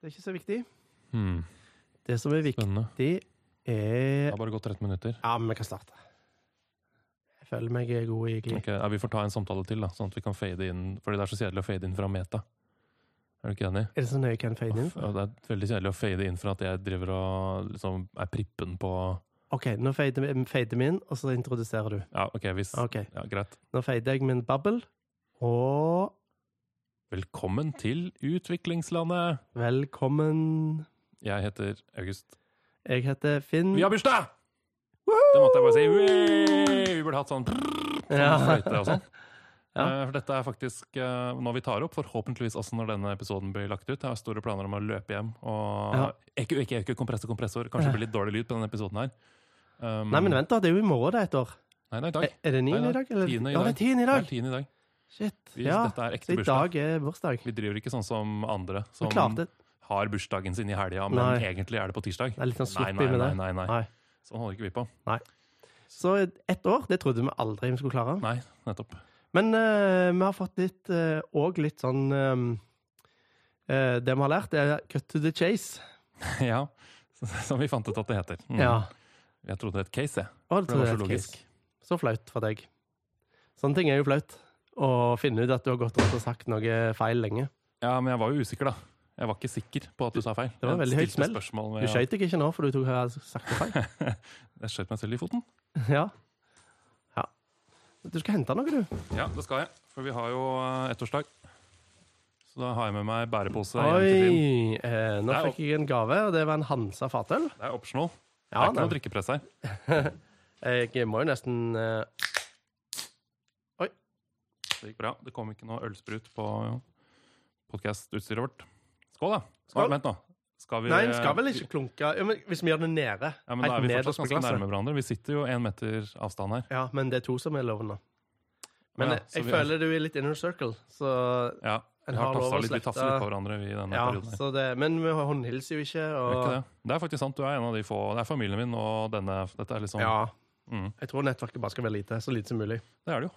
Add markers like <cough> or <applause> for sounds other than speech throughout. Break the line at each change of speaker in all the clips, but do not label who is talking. Det er ikke så viktig.
Hmm.
Det som er viktig,
Spennende. Det
er
har bare gått 13 minutter.
Ja, men vi kan starte. Jeg føler meg god i gli.
Ok, ja, vi får ta en samtale til, da, sånn at vi kan fade inn. Fordi det er så kjedelig å fade inn fra meta. Er du ikke enig?
Er det så nøye hvem fade inn?
Uff, ja, det er veldig kjedelig å fade inn fra at jeg driver og liksom er prippen på
OK, nå fader vi- fader vi inn, og så introduserer du.
Ja, ok, hvis
OK.
Ja, greit.
Nå fader jeg min babbel, og
Velkommen til utviklingslandet!
velkommen
Jeg heter August.
Jeg heter Finn.
Vi har bursdag!
Woohoo!
Det måtte jeg bare si. Wee! Vi burde hatt sånn brrr, fløyte og sånn.
<laughs> Ja.
Eh, For dette er faktisk eh, når vi tar opp, forhåpentligvis også når denne episoden blir lagt ut. Jeg har store planer om å løpe hjem og
Ja.
Ikke, ikke, ikke kompressor, kompressor. Kanskje det blir litt dårlig lyd på denne episoden her. Um,
Nei, men vent, da. Det er jo i morgen det er et år.
Nei, nei, i
Er,
dag.
er det niende
Nei,
i dag? Eller?
tiende i
Ja, det
dag.
er tiende i
Det er
dag.
tiende i dag.
Shit.
Vi,
Ja.
Dette er
Så
ekte
i
bursdag.
dag er bursdag.
Vi driver ikke sånn som andre, som
Vi klarte
har bursdagen sin i helga, men
Nei.
egentlig er det på tirsdag.
Det er litt sånn
Nei,
sloppy
nei,
med
nei,
det.
nei, nei.
Nei.
Sånn holder ikke vi på. <laughs>
Så ett år, det trodde vi aldri vi skulle klare.
Nei, nettopp. <laughs>
Men eh, vi har fått litt òg litt sånn eh, eh, Det vi har lært, er cut to the chase.
ja, som vi fant ut at det heter. Mm.
Ja.
Jeg trodde det het case, jeg.
Og det,
For det
tror
var
jeg
så
er et
logisk.
case. Så flaut for deg. Sånne ting er jo flaut. Å finne ut at du har gått rundt og sagt noe feil lenge.
Ja, men jeg var jo usikker, da. Jeg var ikke sikker på at du sa feil.
Det var
Jeg
veldig høyt
stilte
smell.
spørsmål
Du
Med,
skjøt deg ikke nå, for du tok har sagt det
<laughs>
feil.
Jeg skjøt meg selv i foten.
ja. ja. Du skal hente noe, du.
Ja, det skal jeg. For vi har jo eh, ettårsdag. Så da har jeg med meg bærepose. hjem til Finn.
Oi! Eh, nå
Det er
fikk jeg en gave, og det var en Hansa fatøl.
Det er optional. Det
Ja,
er ikke
nei.
noe drikkepress her.
Jeg må jo nesten eh,
Det gikk bra. Det kom ikke noe ølsprut på podkastutstyret vårt. Skål, da.
Skål.
Nei, vent nå. Skal vi eh,
Nei, den skal vel ikke klunke ja, men Hvis vi gjør den nede.
Ja, men Da er vi
nederst på
fortsatt ganske
glasset.
nærme hverandre. Vi sitter jo én meter avstand her.
Ja, men det er to som er loven nå. Men
Ja,
jeg,
så
jeg
vi-
føler du er litt inner circle, så
Ja,
En
vi
har
har
lov å
tafsa litt, vi
slette-
tafser litt på hverandre vi i denne
ja,
perioden. her.
så det, Men vi håndhilser jo ikke,
Det er
og
ikke det. det er faktisk sant. Du er en av de få. Det er familien min og denne. Dette er liksom,
Ja.
mm,
Jeg tror nettverket bare skal være lite. Så lite som mulig.
det er det jo.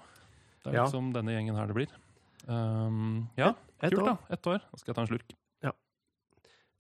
Det er
Ja.
liksom denne gjengen her det blir. Um, ja,
Et
kult,
år.
da. Ett år. Da skal jeg ta en slurk.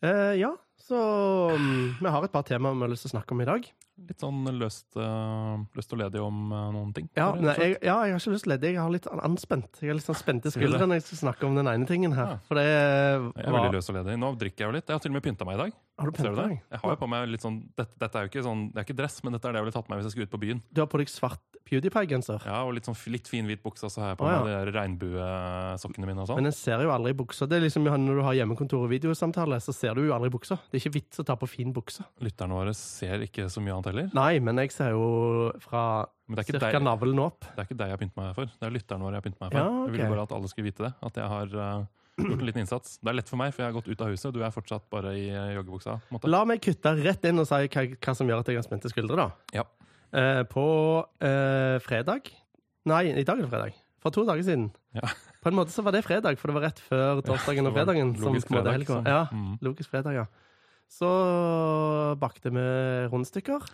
Eh, ja, så mm, vi har et par temaer vi har lyst til å snakke om i dag.
Litt sånn løst, eh, løst og ledig om eh, noen ting.
Ja,
Eller,
nei, jeg, ja, jeg har ikke lyst til å lede. Jeg har litt an- anspent. Jeg har litt sånn spente skuldre når jeg skal snakke om den ene tingen her.
Ja.
For det
jeg er
var
veldig løs og ledig. Nå drikker jeg jo litt. Jeg har til og med pynta meg i dag.
Har du
Ser
pynta
du det?
deg?
Jeg har jo på meg litt sånn Dette, dette er jo ikke sånn Det er ikke dress, men dette er det jeg ville tatt med meg hvis jeg skulle ut på byen.
Du har på deg svart PewDiePie-genser.
Ja, Og litt sånn f- litt fin hvit bukse, og så har jeg
Å,
på
ja.
meg de der regnbuesokkene mine og sånn.
Men en ser jo aldri buksa. Det er liksom Når du har hjemmekontor og videosamtale, så ser du jo aldri buksa. Det er ikke vits å ta på fin bukse.
Lytterne våre ser ikke så mye annet heller.
Nei, men jeg ser jo fra
Men det er ikke
cirka
deg-
navlen opp.
Det er ikke deg jeg har pyntet meg for, det er lytteren vår jeg har pyntet meg for.
Ja, ok.
Jeg ville bare at alle skulle vite det, at jeg har eh, gjort en liten innsats. Det er lett for meg, for jeg har gått ut av huset, og du er fortsatt bare i eh, joggebuksa. på en Måte.
La meg kutte rett inn og si hva, hva som gjør at jeg har spente skuldre, da.
Ja.
Eh, på eh, fredag Nei, i dag er det fredag. For to dager siden.
Ja.
På en måte så var det fredag, for det var rett før torsdagen
det
og
var
fredagen. Som
logisk
på en sånn måte
fredag,
helga.
så-
Ja,
mm.
logisk fredag, ja. Så bakte vi rundstykker.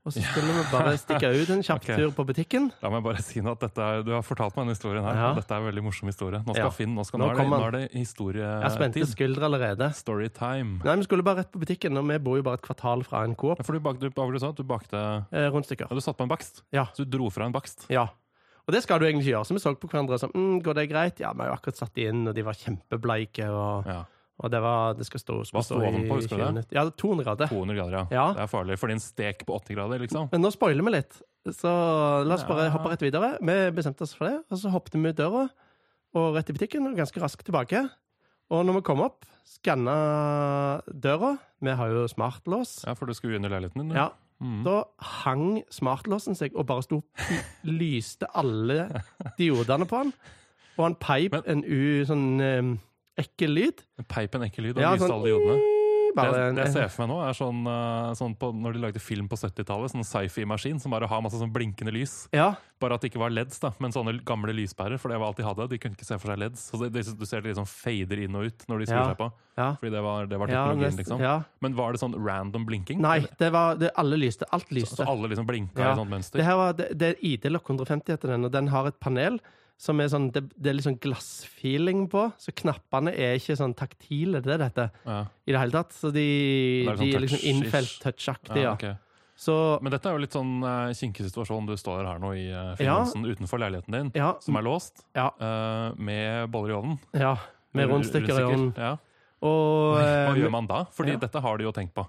Og så skulle vi bare stikke ut en kjapp
<laughs> Ok.
tur på butikken.
La meg bare <laughs> si noe at dette er, Du har fortalt meg denne historien her.
Ja.
og Dette er en veldig morsom historie. Nå skal
Ja.
Finn, nå, skal,
Nå
nå, er det,
kommer
nå
han.
er det
Jeg spente
historietid.
skuldre allerede.
Storytime.
Nei, vi skulle bare rett på butikken, og vi bor jo bare et kvartal fra en Coop.
Ja, for du, bak, du, hva var det du, sa? du bakte ja,
Eh, rundstykker.
Du satt på en bakst.
Ja.
Så du dro fra en bakst.
ja. Og det skal du egentlig ikke gjøre. Så vi så på hverandre og sånn mm, Går det greit? Ja, vi har jo akkurat satt de inn, og de var kjempebleike, og,
Ja.
og det var Det skal stå,
Hva
skulle stå
sto
i
ovenpå, husker du
20
det?
minutter. Ja, 200 grader.
200 grader, ja.
Ja.
Det er farlig. For din stek på 80 grader, liksom.
Men nå spoiler vi litt, så la oss bare
Ja.
hoppe rett videre. Vi bestemte oss for det, og så hoppet vi ut døra og rett i butikken, og ganske raskt tilbake. Og når vi kom opp, skanna døra Vi har jo smartlås.
Ja, For du skulle under leiligheten din? du.
Ja.
Mm.
Da hang smartlåsen seg og bare sto lyste alle diodene på den. Og han peip
Men-
en u, sånn eh, ekkel lyd.
Peip en ekkel lyd og
Ja,
lyste
sånn-
alle jodene.
Bare
det, jeg- det jeg
en-
ser for meg nå, er sånn, eh, sånn på, når de lagde film på 70-tallet. Sånn sci-fi-maskin som bare har masse sånn blinkende lys.
Ja,
Bare at det ikke var LEDs, da, men sånne gamle lyspærer. For det var alt de hadde. De kunne ikke se for seg LEDs. Så det, det, du ser det liksom fader inn og ut når de skrur
Ja.
seg på.
ja.
Fordi det var, det var
ja,
teknologien,
nest-
liksom.
ja.
Men var det sånn random blinking?
Nei, det var det, alle lyste. Alt
Så,
lyste.
så alle liksom blinka
Ja.
i sånt mønster?
Det her var det, det er ID Lokk 150 heter den, og den har et panel Som er sånn, det, det er litt sånn glassfeeling på, så knappene er ikke sånn taktile. Det er dette
Ja.
i det hele tatt. Så de,
Det er
de
sånn
er liksom
touch-ish.
innfelt touchaktige.
Ja,
Ja,
ok.
Så
Men dette er jo litt sånn eh, kinkig situasjon. Du står her nå i eh,
Ja.
finansen utenfor leiligheten din,
ja,
som er låst,
Ja.
eh, med boller i ovnen.
ja med
Rund-
rundstykker i ovnen.
Ja.
Og
Hva
eh,
gjør man da? Fordi
ja.
dette har de jo tenkt på.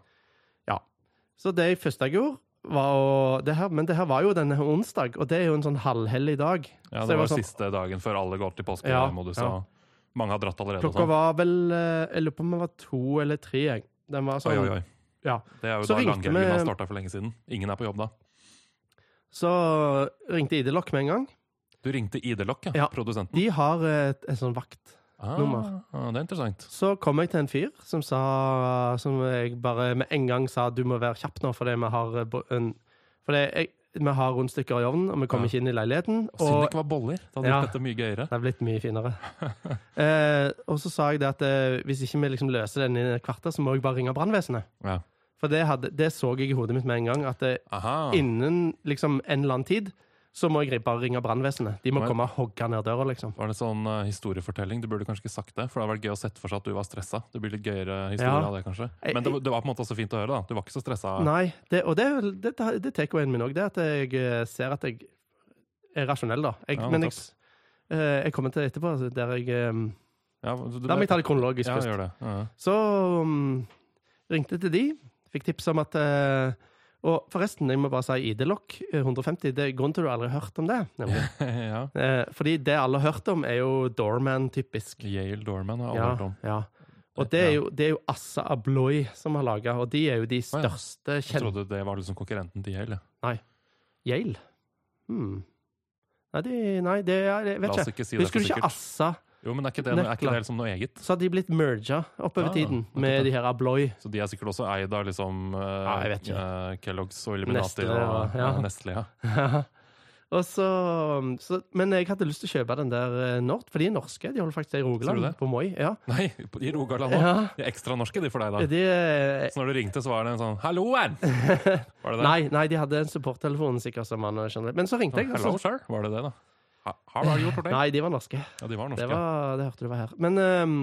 Så det første jeg gjorde, var å det her, Men det her var jo denne her onsdag, og det er jo en sånn halvhellig dag. Så
Ja, det
jeg
var
var sånn-
siste dagen før alle går til
Ja,
påskemodus.
ja.
og Mange har dratt allerede. og
Klokka
sånn.
var vel eh, Jeg lurer på om den var to eller tre. jeg. Den var sånn,
Oi, oi, oi.
Ja.
Det er jo
Så
da
ringte
langhelgen har
vi-
starta for lenge siden. Ingen er på jobb da.
Så ringte ID-lokk med en gang.
Du ringte ID-lokk, ja.
Ja.
Produsenten.
De har et, et sånn vakt.
Ah,
nummer.
ah, det er interessant.
Så kom jeg til en fyr som sa Som jeg bare med en gang sa du må være kjapp nå, fordi vi har eh, bo- en, fordi jeg, vi har rundstykker i ovnen, og vi kommer
Ja.
ikke inn i leiligheten.
Synd det ikke var boller. Da hadde
Ja.
gjort dette mye gøyere.
Det er blitt mye
<laughs>
finere. Eh, og så sa jeg det at eh, hvis ikke vi liksom løser den i et kvarter, så må jeg bare ringe brannvesenet.
Ja.
For det, hadde, det så jeg i hodet mitt med en gang, at eh,
Aha.
innen liksom, en eller annen tid så må jeg bare ringe brannvesenet. De må
Men-
komme og hogge ned døra, liksom.
Var det sånn eh, historiefortelling? Du burde kanskje ikke sagt det. For det hadde vært gøy å sette for seg at du var stressa. Det blir litt gøyere historie
Ja.
av det, kanskje.
Jeg-
Men det, var- det var på en måte også fint å høre, da. Du var ikke så stressa.
Nei, det, og det, det, det tar en min òg, det at jeg eh, ser at jeg er rasjonell, da. Jeg,
Ja,
men jeg,
nettopp.
s- eh, jeg kommer til etterpå, altså, der jeg eh,
Ja, du, du,
La meg ta det kronologisk
ja,
først.
gjør det. Ja.
Så mm, ringte til de, fikk tips om at eh, Og forresten, jeg må bare si ID-lokk eh, 150. Det er grunnen til at du aldri har hørt om det. nemlig.
ja. <laughs>
Eh, fordi det alle har hørt om, er jo doorman, typisk.
Yale Dorman har jeg
Ja,
aldri hørt om.
ja. Og det er jo, det er jo Assa Abloy som har laga, og de er jo de
ja.
største
Jeg
kjente
trodde det var liksom konkurrenten til Yale.
Yale? Hmm. Nei, de, nei, det er, jeg
La
vet
oss
ikke.
ikke si dette
Husker du ikke
sikkert.
Assa?
Jo, men er ikke det, noe- er ikke
Nøkler.
det liksom noe eget?
Så har de blitt merga oppover
Ah,
tiden
nettopp.
med de her Abloy. <laughs>
Så de er sikkert også eid av liksom eh,
Ja, jeg vet ikke.
eh, Kellogg's og Illuminati
Nestle og-
og ja.
ja.
Nestle. Ja.
og så, um, så, men jeg hadde lyst til å kjøpe den der eh, Nord, for de er norske. De holder faktisk til i
Tror du
Rogaland,
det?
på Moi. Ja.
Nei, på- i Rogaland òg!
ja.
De er ekstra norske, de, for deg, da.
De, eh,
Så når du ringte, så var det en sånn
<laughs>
'halloen'! Var det det?
nei, nei, de hadde en supporttelefon, sikkert. som han skjønner. Men så ringte jeg.
Hello,
Altså.
sir. Var det det, da? Ha- How are you today?
Nei, de var norske.
Ja, de var norske.
Det, var, det hørte du var her. Men ehm,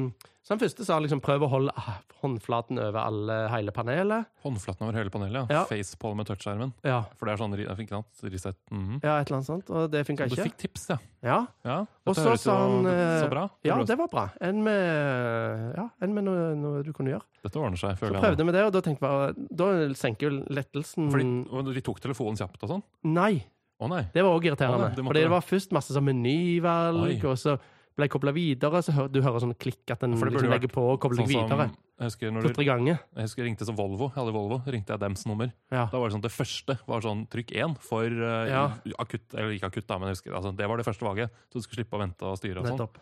så den første sa liksom prøv å holde ah, håndflaten over alle, hele panelet.
Håndflaten over hele panelet. Ja.
Ja.
Facepalm med touchskjermen.
Ja.
For det er sånn ri- jeg fikk natt, reset. mhm.
ja, et eller annet sånt. Og det funka
Du
ikke.
fikk tips, ja.
Ja.
ja
Og
dette
så
høres jo
sa han, eh,
så bra.
ja,
Høres-
det var bra. En med, ja, en med noe, noe du kunne gjøre.
Dette ordner seg,
Så
føler jeg.
prøvde vi det, og da tenkte vi Da senker jo lettelsen
nå. Fordi, og de tok telefonen kjapt og sånn?
Nei,
Å nei.
det var òg
Å,
irriterende.
nei, det måtte
fordi
det.
det var først masse sånn menyvalg,
Oi.
og så ble jeg kobla videre. Så hø- du hører sånn klikk at den
For det burde
liksom
vært
legger på og kobler deg videre.
Sånn jeg husker når du,
Plutselig ganger.
jeg husker jeg ringte som Volvo, jeg hadde Volvo, ringte jeg dems nummer.
Ja.
Da var det sånn at det første var sånn trykk 1 for eh,
Ja.
akutt, eller ikke akutt da, men jeg husker, altså, det var det første valget. Så du skulle slippe å vente og styre og sånn.
Nettopp.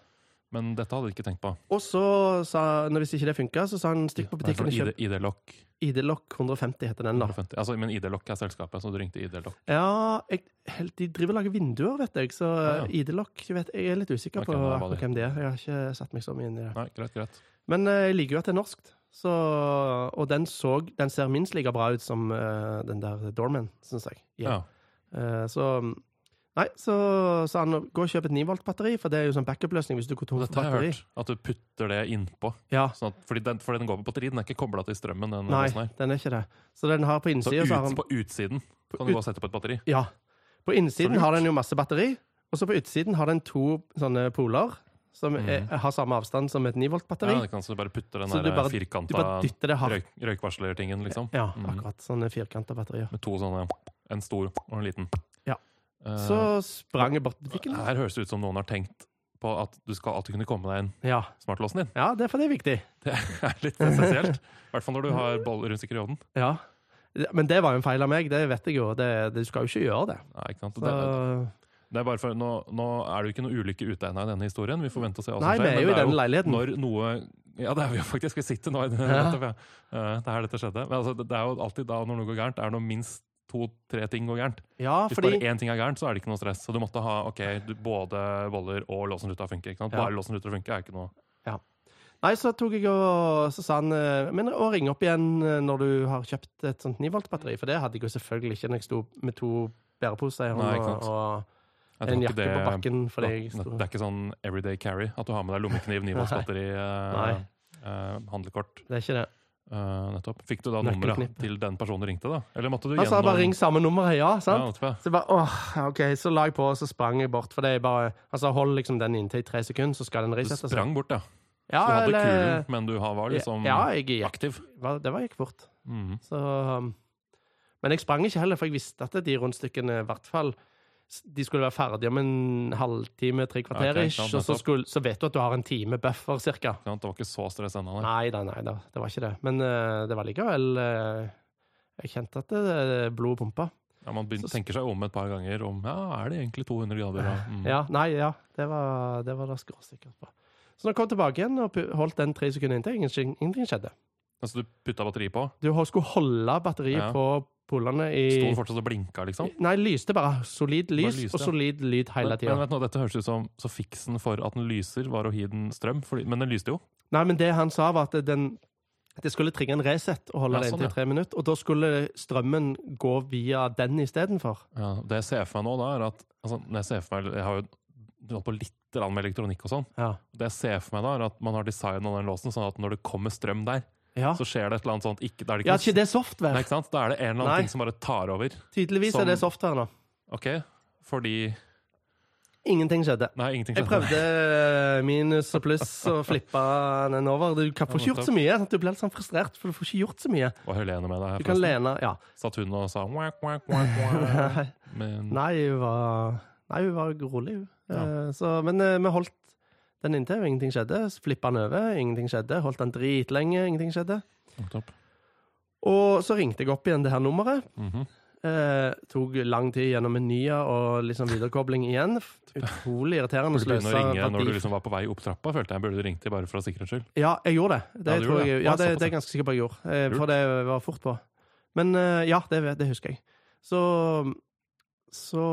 Men dette hadde jeg ikke tenkt på.
Og så sa når Hvis ikke det funka, så sa han stikk på butikken og
Nei, sånn
kjøp
ID ID-lokk.
ID-lokk 150, heter den da.
150. Altså, men ID-lokk er selskapet, så du ringte ID-lokk.
Ja, jeg, helt, de driver og lager vinduer, vet jeg, så
Ah, ja.
eh, ID-lokk jeg vet- Jeg er litt usikker
Ok,
på
hva var
akkurat
det?
hvem det er. Jeg har ikke satt meg så mye inn i det.
Nei, greit, greit.
Men eh, jeg liker jo at det er norskt. Så, og den, så, den ser minst like bra ut som eh, den der Dorman, syns jeg.
Ja.
Eh, så Nei, så sa han gå og kjøp et 9 volt-batteri, for det er jo sånn backup-løsning hvis du går tom
Og
for
dette har
batteri.
jeg hørt, at du putter det innpå.
Ja,
Sånn at, fordi den, for den går på batteri, den er ikke koblet til strømmen. Den
Nei,
låsen her.
den er ikke det. Så den har på
Så
innsiden så har
ut,
den
på utsiden
På
kan du
ut-
gå og sette på et batteri.
Ja. På
Så
innsiden
lurt.
har den jo masse batteri, og så på utsiden har den to sånne poler som er, har samme avstand som et 9
Mhm. Ja,
volt-batteri.
det kan, så du bare putter den
Så du
der
bare- du
firkanta
bare dytter det hardt.
røyk, røykvarslertingen, liksom.
Ja,
Mhm.
akkurat. Sånne firkanta batterier.
Med to sånne. En stor og en liten.
Ja.
Eh,
Så sprang jeg bort til butikken.
her høres det ut som noen har tenkt på at du skal alltid kunne komme deg inn
Ja.
smartlåsen din. <laughs>
ja, det er for det er viktig.
Det er litt essensielt. I hvert fall når du har boller rundt sikker i ovnen.
Ja. Men det var jo en feil av meg, det vet jeg jo. Det, det, du skal jo ikke gjøre det.
Nei, ikke sant?
Så,
Det, det er bare for, nå, nå er det jo ikke noe ulykke ute ennå i denne historien. Vi får vente og se hva som
nei, vi
skjer.
er
men
jo i
det er
den
jo
leiligheten.
når noe Ja, det er vi jo faktisk. Vi sitter nå i det,
Ja.
nettopp, ja. Eh, det er her dette skjedde. Men altså, det er jo alltid da når noe går gærent, er det når minst to-tre ting går gærent.
Ja,
Hvis
fordi
bare én ting er gærent, så er det ikke noe stress. Så du måtte ha ok, du, både boller og låsen ruta funker. ikke sant?
Ja.
Bare låsen ruta funker er ikke noe
Nei, så tok jeg og så sa han eh, Men å ringe opp igjen eh, når du har kjøpt et sånt 9 volt-batteri, for det hadde jeg jo selvfølgelig ikke når jeg sto med to bæreposer i
Nei,
hånda
ikke sant.
og
Jeg tror
En
ikke
jakke på bakken fordi jeg
det,
sto
det er ikke sånn everyday carry, at du har med deg lommekniv, kniv og
Nei.
skatteri, eh, eh, handlekort.
Det er ikke det.
eh, nettopp. Fikk du da nummeret
Nøkkelknippet.
til den personen du ringte, da? Eller måtte du
Han sa bare 'ring samme nummer', ja.
Ja,
sant?
nettopp, ja.
Så jeg bare, åh, ok, så la jeg på, og så sprang jeg bort. For det er bare, altså Hold liksom den inntil i tre sekunder, så skal den
Du
resette seg.
sprang bort, ja.
Ja,
Du hadde
eller-
kulen, men du har- var liksom
Ja, jeg gikk,
aktiv.
hva- det var gikk fort.
Mhm.
Så, um, men jeg sprang ikke heller, for jeg visste at de rundstykkene i hvert fall s- de skulle være ferdige om en halvtime, tre kvarter.
Ok,
ish,
sant,
og så,
nettopp.
skulle, så vet du at du har en time buffer, cirka.
Ikke sant? Det var ikke så stress ennå. nei.
Nei da, nei da, det var ikke det. Men eh, det var likevel eh, Jeg kjente at det, blodet pumpa.
Ja, man begynner,
Så-
tenker seg om et par ganger om ja, er det egentlig 200 grader. Da? Mm.
Ja, nei, ja. Det var det, var det skråsikkert på. Så når jeg kom tilbake igjen og pu- holdt den tre sekunder inntil, ingenting, ingenting skjedde.
Altså, du putta batteri på?
Du ho- skulle holde batteriet
Ja.
på polene i
Sto det fortsatt og blinka, liksom?
Nei, lyste bare. Solid lys
lyste,
og
ja.
solid lyd hele
Men, men
tida.
vet du, hva, dette høres ut som så fiksen for at den lyser, var å gi den strøm. Fordi, men den lyste jo.
Nei, men det han sa, var at den det skulle trigge en reset og holde
Ja,
det
sånn,
inntil
ja.
tre minutter. Og da skulle strømmen gå via den istedenfor.
Ja, det jeg ser for meg nå, da, er at altså, når Jeg ser for meg, jeg har jo holdt på litt grann med elektronikk og sånn.
Ja.
Det jeg ser for meg da, er at man har designa den låsen sånn at når det kommer strøm der,
Ja.
så skjer det et eller annet sånt ikke, Da er det
ja,
ikke,
er ikke det software?
Nei, ikke sant? Da er det en eller annen
Nei.
ting som bare tar over.
Tydeligvis
Som-
er det software nå.
OK? Fordi
Ingenting skjedde.
Nei, ingenting
Jeg prøvde eh, minus og pluss
<laughs>
og flippa den over. Du kan får ikke gjort så mye. sant? Du blir litt sånn frustrert, for du får ikke gjort så mye.
Og Helene med deg her,
Du kan
forresten.
lene Ja.
Satt hun og sa wak, wak, wak, wak.
<laughs> Nei,
Men
hun var Nei, hun var rolig, hun. Eh, Så, men eh, vi holdt den inntil, og ingenting skjedde. Så Flippa den over, ingenting skjedde. Holdt den dritlenge, ingenting skjedde.
Nettopp.
Og så ringte jeg opp igjen det her nummeret.
Mhm.
Eh, tok lang tid gjennom menyer og liksom viderekobling igjen. Utrolig irriterende.
Burde du begynne å
sløsa
ringe når du
verdi-
liksom var på vei opp trappa? følte jeg burde du ringt til bare for å sikkerhets skyld.
Ja, jeg gjorde det. Det,
Ja, du
tror
gjorde
jeg,
det.
ja,
Ja,
det,
såpass,
det er jeg
ja.
ganske sikker på jeg gjorde, eh, for det var fort på. Men eh, ja, det, det husker jeg. Så, så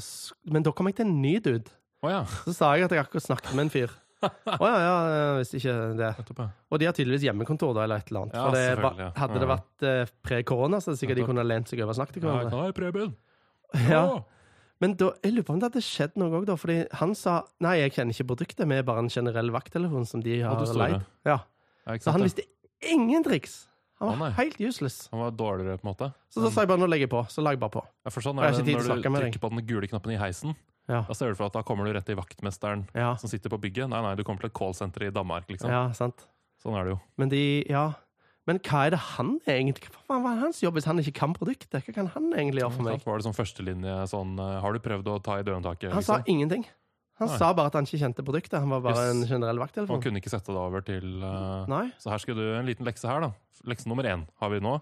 s- Men da kom jeg til en ny dude.
Å ja.
Så sa jeg at jeg akkurat snakket med en fyr. Å ja, ja, eh, hvis ikke det.
Nettopp, ja.
Og de har tydeligvis hjemmekontor, da, eller et eller annet.
Ja,
For det,
selvfølgelig,
ba-
ja.
hadde det
Ja.
vært eh, pre-korona, så er det sikkert de
Nettopp.
kunne ha lent seg over og snakket til
ja.
hverandre.
Hei, Preben!
Ja.
Å!
Men da, jeg lurer på om det hadde skjedd noe òg, da. Fordi han sa nei, jeg kjenner ikke produktet, vi er bare en generell vakttelefon som de
du
har
store.
leid. Ja,
Ja, ikke
Så han
sant,
visste ingen triks. Han var
Å, nei.
helt useless.
ja. han var dårligere, på en måte.
Så da sa jeg bare nå legger jeg på. Så la jeg bare på.
Ja, for sånn
Jeg har
er
ikke
det
tid til å
når du
snakke med deg.
trykker på den gule knappen i heisen.
Ja.
Da ser du for deg at da kommer du rett til vaktmesteren
Ja,
som sitter på bygget. Nei, nei, du kommer til et callsenter i Danmark, liksom.
ja sant.
Sånn er det jo.
Men de Ja. Men hva er det han egentlig Hva faen var hans jobb hvis han ikke kan produktet? Hva kan han egentlig gjøre for
Ikke
meg?
sant? Var det sånn førstelinje sånn eh, Har du prøvd å ta i dørhåndtaket?
Han sa
Liksom?
ingenting. Han
Nei.
sa bare at han ikke kjente produktet. Han var bare
Yes.
en generell
Han
vakttelefon.
kunne ikke sette det over til eh,
Nei.
Så her skal du en liten lekse her, da. Lekse nummer én har vi nå.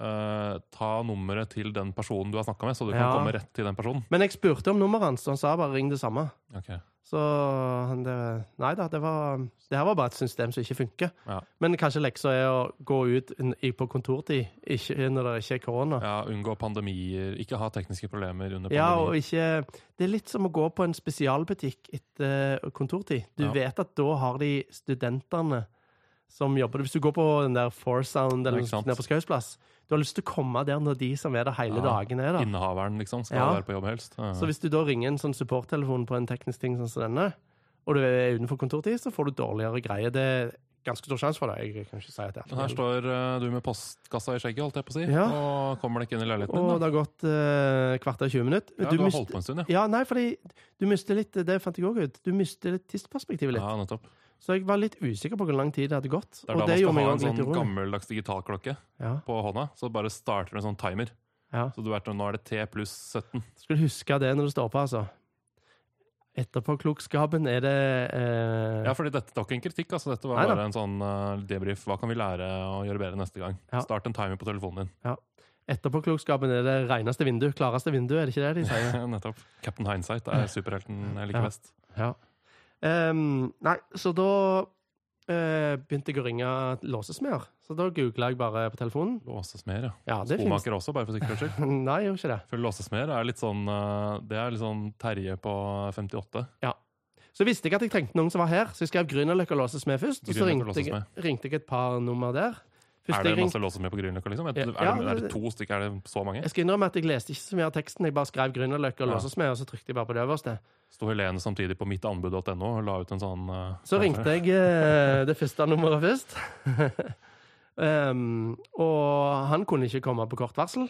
Eh, ta nummeret til den personen du har snakka med, så du kan
Ja.
komme rett til den personen.
Men jeg spurte om nummeret hans, og han sa bare ring det samme.
Ok.
Så han- det, Nei da, det var Det her var bare et system som ikke funker.
Ja.
Men kanskje leksa er å gå ut in- i- på kontortid ikke, når det ikke er korona.
Ja, unngå pandemier, ikke ha tekniske problemer under
Ja, og
pandemier.
ikke Det er litt som å gå på en spesialbutikk etter eh, kontortid. Du
Ja.
vet at da har de studentene som jobber Hvis du går på den der Four Sound eller
Ikke
noe sånt
sant.
nede på Skausplass, du har lyst til å komme der når de som er der hele
Ja.
dagen, er der.
Innehaveren, liksom, skal
Ja.
være på jobb helst. Ja.
Så hvis du da ringer en sånn supporttelefon på en teknisk ting sånn som denne, og du er utenfor kontortid, så får du dårligere greier. Det er ganske stor sjanse for det. Jeg kan ikke si at det er
Men Her står eh, du med postkassa i skjegget, holdt jeg på å si,
Ja.
og kommer deg ikke inn i leiligheten
Og
din. Da.
det har gått eh, kvarter 20 minutter.
Ja, du, har holdt på en stund, ja.
Ja, nei, fordi du mister litt Det fant jeg òg ut. Du mister litt tidsperspektivet litt.
Ja, nettopp.
Så jeg var litt usikker på hvor lang tid det hadde gått.
Det er
og
da
det gjorde
man skal
meg
ha en
også litt
sånn
urolig.
gammeldags digitalklokke
Ja,
på hånda, så bare starter en sånn timer.
ja.
Så du vet nå er det T pluss 17.
Skulle huske det når du står på, altså. Etterpåklokskapen er det eh,
Ja, fordi dette det var ikke en kritikk, altså. Dette var
Neida.
bare en sånn eh, debrief. Hva kan vi lære å gjøre bedre neste gang?
Ja.
Start en timer på telefonen din.
Etterpåklokskapen er det reneste vinduet, klareste vinduet, er det ikke det de sier?
<laughs> Nettopp. Captain Hindsight er superhelten jeg liker
Ja.
best.
Ja. Ehm, nei, så da eh, begynte jeg å ringe låsesmeder. Så da googla jeg bare på telefonen.
Låsesmer, ja.
Ja, det finnes
Skomaker også, bare for sikkerhets skyld.
<laughs> Nei, jeg gjorde ikke det.
For låsesmer er litt sånn eh, Det er litt sånn Terje på 58.
Så visste jeg at jeg trengte noen som var her, så jeg skrev Grünerløkka låsesmed først. Og så
Grünerløkka
ringte jeg,
låsesmed.
ringte jeg et par nummer der. Første
er det
jeg ringte-
masse låser med på Grünerløkka? Liksom? Er,
Ja,
det- er, det-
ja,
er det
det-
to stykker? Er det så mange?
Jeg skal innrømme at jeg leste ikke så mye av teksten. Jeg bare skrev Grünerløkka og
Ja.
låses med, og så trykte jeg bare på det øverste.
Sto Helene samtidig på mittanbud.no og la ut en sånn eh,
Så ringte jeg eh, det første nummeret først. <laughs> Em, og han kunne ikke komme på kort varsel.